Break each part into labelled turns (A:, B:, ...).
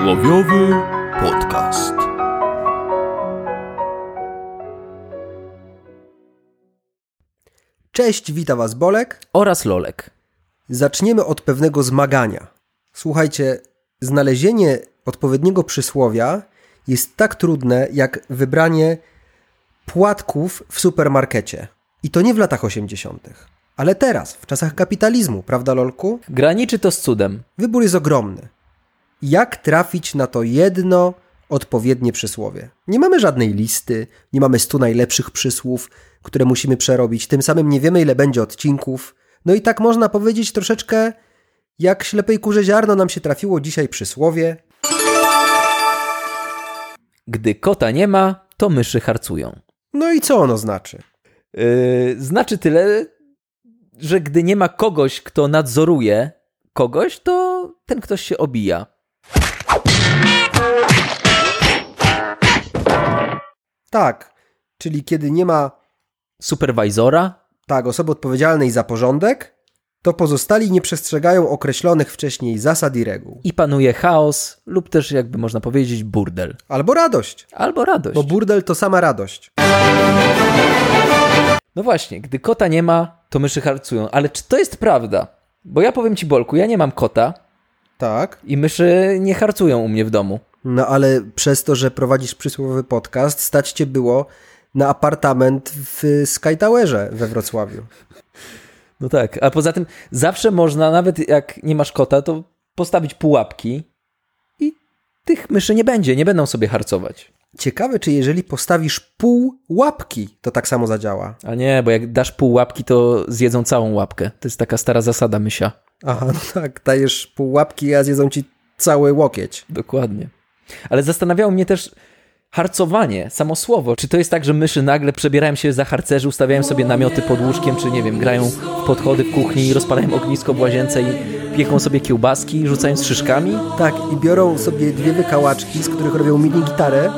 A: Radiowy podcast.
B: Cześć, wita Was Bolek.
C: oraz lolek.
B: Zaczniemy od pewnego zmagania. Słuchajcie, znalezienie odpowiedniego przysłowia jest tak trudne jak wybranie płatków w supermarkecie. I to nie w latach 80., ale teraz, w czasach kapitalizmu, prawda, Lolku?
C: Graniczy to z cudem.
B: Wybór jest ogromny. Jak trafić na to jedno odpowiednie przysłowie? Nie mamy żadnej listy, nie mamy 100 najlepszych przysłów, które musimy przerobić. Tym samym nie wiemy, ile będzie odcinków. No i tak można powiedzieć troszeczkę, jak ślepej kurze ziarno nam się trafiło dzisiaj przysłowie.
C: Gdy kota nie ma, to myszy harcują.
B: No i co ono znaczy?
C: Yy, znaczy tyle, że gdy nie ma kogoś, kto nadzoruje kogoś, to ten ktoś się obija.
B: Tak, czyli kiedy nie ma
C: Superwajzora?
B: tak osoby odpowiedzialnej za porządek, to pozostali nie przestrzegają określonych wcześniej zasad i reguł.
C: I panuje chaos, lub też jakby można powiedzieć burdel.
B: Albo radość,
C: Albo radość.
B: bo burdel to sama radość.
C: No właśnie, gdy kota nie ma, to myszy harcują. Ale czy to jest prawda? Bo ja powiem ci, Bolku, ja nie mam kota
B: Tak.
C: i myszy nie harcują u mnie w domu.
B: No ale przez to, że prowadzisz przysłowiowy podcast, stać cię było na apartament w Sky Towerze we Wrocławiu.
C: No tak, a poza tym zawsze można, nawet jak nie masz kota, to postawić pułapki i tych myszy nie będzie, nie będą sobie harcować.
B: Ciekawe, czy jeżeli postawisz pół łapki, to tak samo zadziała.
C: A nie, bo jak dasz pół łapki, to zjedzą całą łapkę. To jest taka stara zasada mysia.
B: Aha, no tak, dajesz pół łapki, a zjedzą ci cały łokieć.
C: Dokładnie. Ale zastanawiało mnie też harcowanie, samo słowo. Czy to jest tak, że myszy nagle przebierają się za harcerzy, ustawiają sobie namioty pod łóżkiem, czy nie wiem, grają w podchody w kuchni, rozpalają ognisko w łazience i pieką sobie kiełbaski, rzucają z szyszkami?
B: Tak, i biorą sobie dwie wykałaczki, z których robią mini gitarę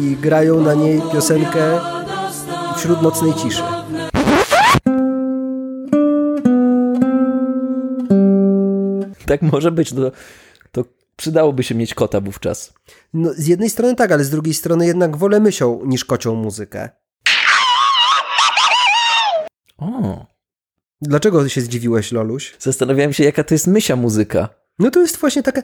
B: i grają na niej piosenkę wśród nocnej ciszy.
C: Tak może być, to, to przydałoby się mieć kota wówczas.
B: No, z jednej strony tak, ale z drugiej strony jednak wolę mysią niż kocią muzykę.
C: O,
B: Dlaczego się zdziwiłeś, Loluś?
C: zastanawiałem się, jaka to jest mysia muzyka.
B: No to jest właśnie taka.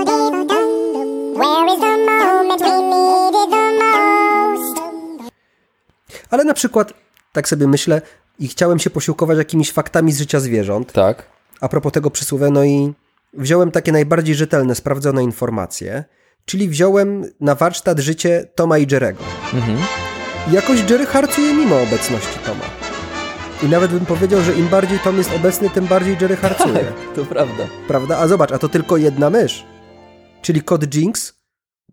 D: Where is the moment we needed the most?
B: Ale na przykład, tak sobie myślę, i chciałem się posiłkować jakimiś faktami z życia zwierząt.
C: Tak.
B: A propos tego przysłowia, no i wziąłem takie najbardziej rzetelne, sprawdzone informacje, czyli wziąłem na warsztat życie Toma i Jerego.
C: Mhm.
B: Jakoś Jerry harcuje mimo obecności Toma. I nawet bym powiedział, że im bardziej Tom jest obecny, tym bardziej Jerry harcuje.
C: Tak, to prawda.
B: Prawda? A zobacz, a to tylko jedna mysz. Czyli kod Jinx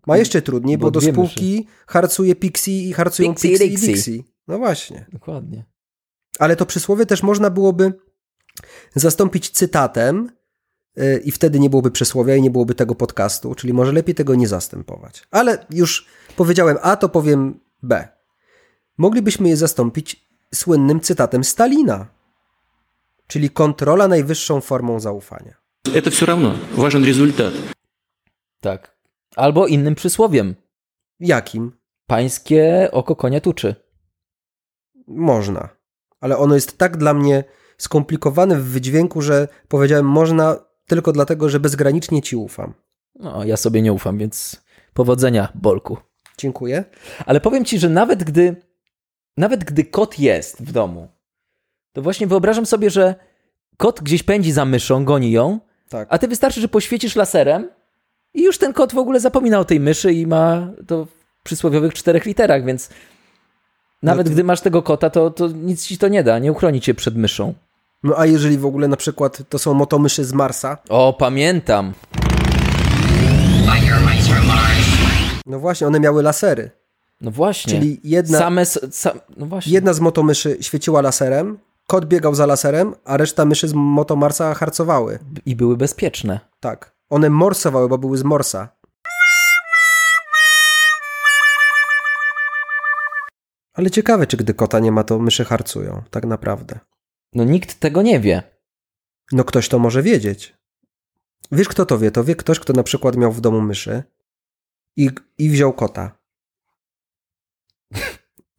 B: ma jeszcze trudniej, bo,
C: Bo
B: do
C: dwie
B: spółki harcuje Pixie i harcują
C: Pixie
B: Pixie,
C: i
B: Pixie i
C: Dixie.
B: Dixie. No właśnie.
C: Dokładnie.
B: Ale to przysłowie też można byłoby zastąpić cytatem yy, i wtedy nie byłoby przysłowia i nie byłoby tego podcastu, czyli może lepiej tego nie zastępować. Ale już powiedziałem A, to powiem B. Moglibyśmy je zastąpić słynnym cytatem Stalina, czyli kontrola najwyższą formą zaufania.
E: Это все равно. Важен результат.
C: Tak. Albo innym przysłowiem.
B: Jakim?
C: Pańskie oko konia tuczy.
B: Można. Ale ono jest tak dla mnie skomplikowane w wydźwięku, że powiedziałem można tylko dlatego, że bezgranicznie ci ufam.
C: No, ja sobie nie ufam, więc powodzenia, Bolku.
B: Dziękuję.
C: Ale powiem ci, że nawet gdy, nawet gdy kot jest w domu, to właśnie wyobrażam sobie, że kot gdzieś pędzi za myszą, goni ją,
B: Tak.
C: A ty wystarczy, że poświecisz laserem i już ten kot w ogóle zapomina o tej myszy i ma to w przysłowiowych czterech literach, więc nawet
B: to-
C: gdy masz tego kota, to, to nic ci to nie da, nie uchroni cię przed myszą.
B: No a jeżeli w ogóle na przykład to są motomyszy z Marsa?
C: O, pamiętam.
B: No właśnie, one miały lasery.
C: No właśnie.
B: Czyli jedna-
C: Same... s- Sam... No właśnie.
B: Jedna z motomyszy świeciła laserem, kot biegał za laserem, a reszta myszy z motomarsa harcowały.
C: I były bezpieczne.
B: Tak. One morsowały, bo były z Morsa. Ale ciekawe, czy gdy kota nie ma, to myszy harcują, tak naprawdę.
C: No nikt tego nie wie.
B: No ktoś to może wiedzieć. Wiesz, kto to wie? To wie ktoś, kto na przykład miał w domu myszy i, i wziął kota.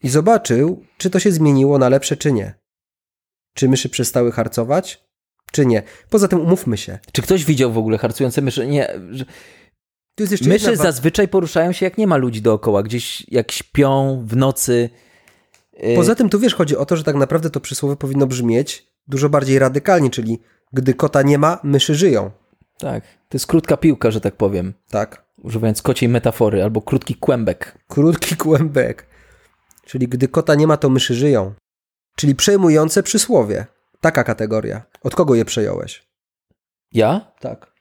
B: I zobaczył, czy to się zmieniło na lepsze, czy nie. Czy myszy przestały harcować, czy nie. Poza tym umówmy się.
C: Czy ktoś widział w ogóle harcujące myszy? Nie. że-
B: Tu jest jeszcze
C: Myszy
B: jedna wa-
C: zazwyczaj poruszają się jak nie ma ludzi dookoła, gdzieś jak śpią w nocy. Y,
B: Poza tym tu wiesz, chodzi o to, że tak naprawdę to przysłowie powinno brzmieć dużo bardziej radykalnie, czyli gdy kota nie ma, myszy żyją.
C: Tak, to jest krótka piłka, że tak powiem,
B: Tak.
C: używając kociej metafory, albo krótki kłębek.
B: Krótki kłębek. Czyli gdy kota nie ma, to myszy żyją. Czyli przejmujące przysłowie. Taka kategoria. Od kogo je przejąłeś?
C: Ja?
B: Tak.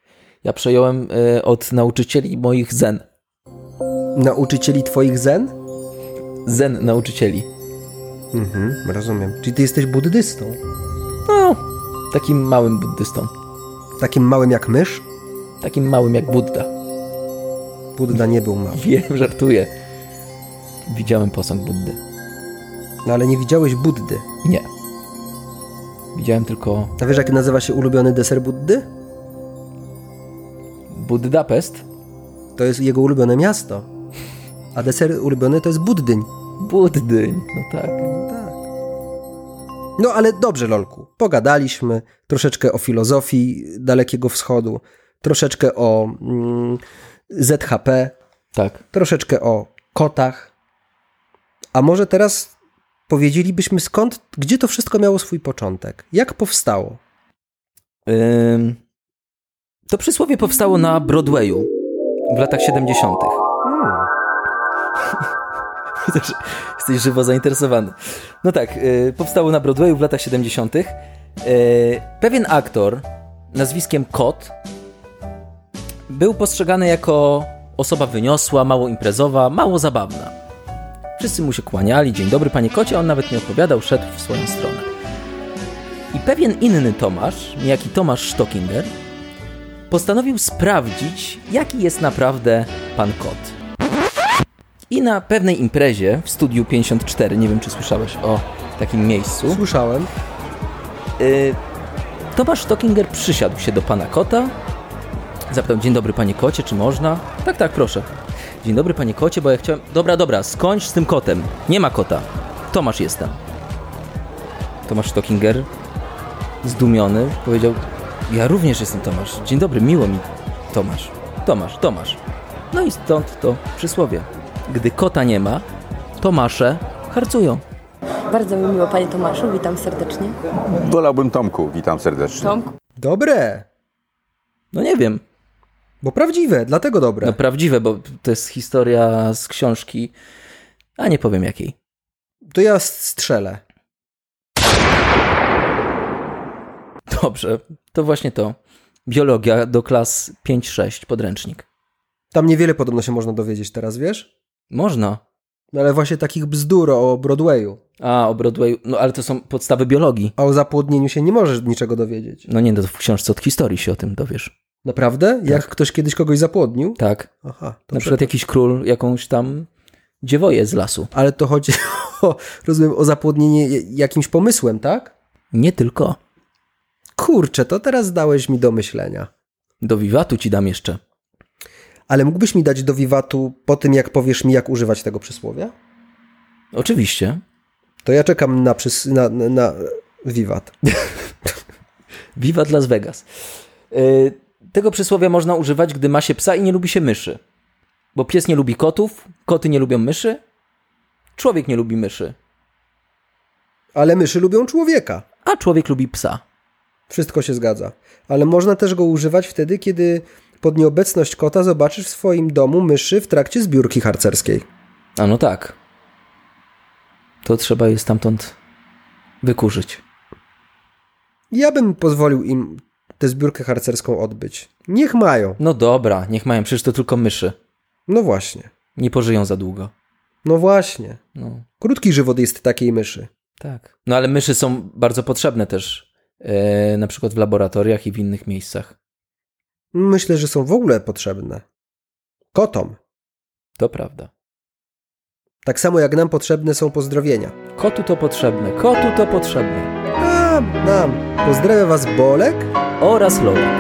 C: Ja przejąłem y, od nauczycieli moich zen.
B: Nauczycieli twoich zen?
C: Zen nauczycieli.
B: Mhm, rozumiem. Czyli ty jesteś buddystą.
C: No, takim małym buddystą.
B: Takim małym jak mysz?
C: Takim małym jak Budda.
B: Budda nie był mały.
C: Wiem, żartuję. Widziałem posąg Buddy.
B: No ale nie widziałeś Buddy.
C: Nie. Widziałem tylko
B: A wiesz, jak nazywa się ulubiony deser Buddy?
C: Buddapest.
B: To jest jego ulubione miasto. A deser ulubiony to jest Buddyń.
C: Buddyń. No tak.
B: No ale dobrze, Lolku. Pogadaliśmy troszeczkę o filozofii Dalekiego Wschodu, troszeczkę o mm, ZHP,
C: Tak.
B: troszeczkę o kotach. A może teraz powiedzielibyśmy skąd, gdzie to wszystko miało swój początek? Jak powstało?
C: Ym, To przysłowie powstało na Broadwayu w latach 70. Widzę, że jesteś żywo zainteresowany. No tak, y, powstało na Broadwayu w latach 70. Y, Pewien aktor nazwiskiem Kot był postrzegany jako osoba wyniosła, mało imprezowa, mało zabawna. Wszyscy mu się kłaniali, dzień dobry panie kocie, a on nawet nie odpowiadał, szedł w swoją stronę. I pewien inny Tomasz, niejaki Tomasz Stockinger, postanowił sprawdzić, jaki jest naprawdę pan kot. I na pewnej imprezie w studiu 54, nie wiem czy słyszałeś o takim miejscu,
B: Słyszałem.
C: y, Tomasz Stockinger przysiadł się do pana kota, zapytał, dzień dobry panie kocie, czy można? Tak, tak, proszę. Dzień dobry panie kocie, bo ja chciałem... Dobra, dobra, skończ z tym kotem. Nie ma kota. Tomasz jestem. Tomasz Stockinger, zdumiony, powiedział, ja również jestem Tomasz. Dzień dobry, miło mi Tomasz. Tomasz, Tomasz. No i stąd to przysłowie. Gdy kota nie ma, Tomasze harcują.
F: Bardzo mi miło, panie Tomaszu, witam serdecznie.
G: Wolałbym Tomku, witam serdecznie.
F: Tomku.
B: Dobre,
C: No nie wiem,
B: bo prawdziwe, dlatego dobre.
C: No prawdziwe, bo to jest historia z książki, a nie powiem jakiej.
B: To ja strzelę.
C: Dobrze, to właśnie to. Biologia do klas 5-6, podręcznik.
B: Tam niewiele podobno się można dowiedzieć teraz, wiesz?
C: Można.
B: No ale właśnie takich bzdur o Broadwayu.
C: A, o Broadway, no ale to są podstawy biologii.
B: A o zapłodnieniu się nie możesz niczego dowiedzieć.
C: No nie, no to w książce od historii się o tym dowiesz.
B: Naprawdę? Jak ktoś kiedyś kogoś zapłodnił?
C: Tak.
B: Tak. Aha, to
C: Na przykład jakiś król jakąś tam dziewoję z lasu.
B: Ale to chodzi o, rozumiem, o zapłodnienie jakimś pomysłem, tak?
C: Nie tylko.
B: Kurczę, to teraz dałeś mi do myślenia.
C: Do wiwatu ci dam jeszcze.
B: Ale mógłbyś mi dać do wiwatu po tym, jak powiesz mi, jak używać tego przysłowia?
C: Oczywiście.
B: To ja czekam na, przys- na, na, na wiwat.
C: Wiwat Las Vegas. Yy, tego przysłowia można używać, gdy ma się psa i nie lubi się myszy. Bo pies nie lubi kotów, koty nie lubią myszy, człowiek nie lubi myszy,
B: Ale myszy lubią człowieka.
C: a człowiek lubi psa.
B: Wszystko się zgadza. Ale można też go używać wtedy, kiedy pod nieobecność kota zobaczysz w swoim domu myszy w trakcie zbiórki harcerskiej.
C: A no tak. To trzeba je stamtąd wykurzyć.
B: Ja bym pozwolił im tę zbiórkę harcerską odbyć. Niech mają.
C: No dobra, niech mają, przecież to tylko myszy.
B: No właśnie.
C: Nie pożyją za długo.
B: No właśnie.
C: No,
B: Krótki żywot jest takiej myszy.
C: tak. No ale myszy są bardzo potrzebne też, yy, na przykład w laboratoriach i w innych miejscach.
B: Myślę, że są w ogóle potrzebne. Kotom.
C: To prawda.
B: Tak samo jak nam potrzebne są pozdrowienia.
C: Kotu to potrzebne, kotu to potrzebne.
B: A, Nam, nam. Pozdrawia was Bolek.
C: oraz Lola.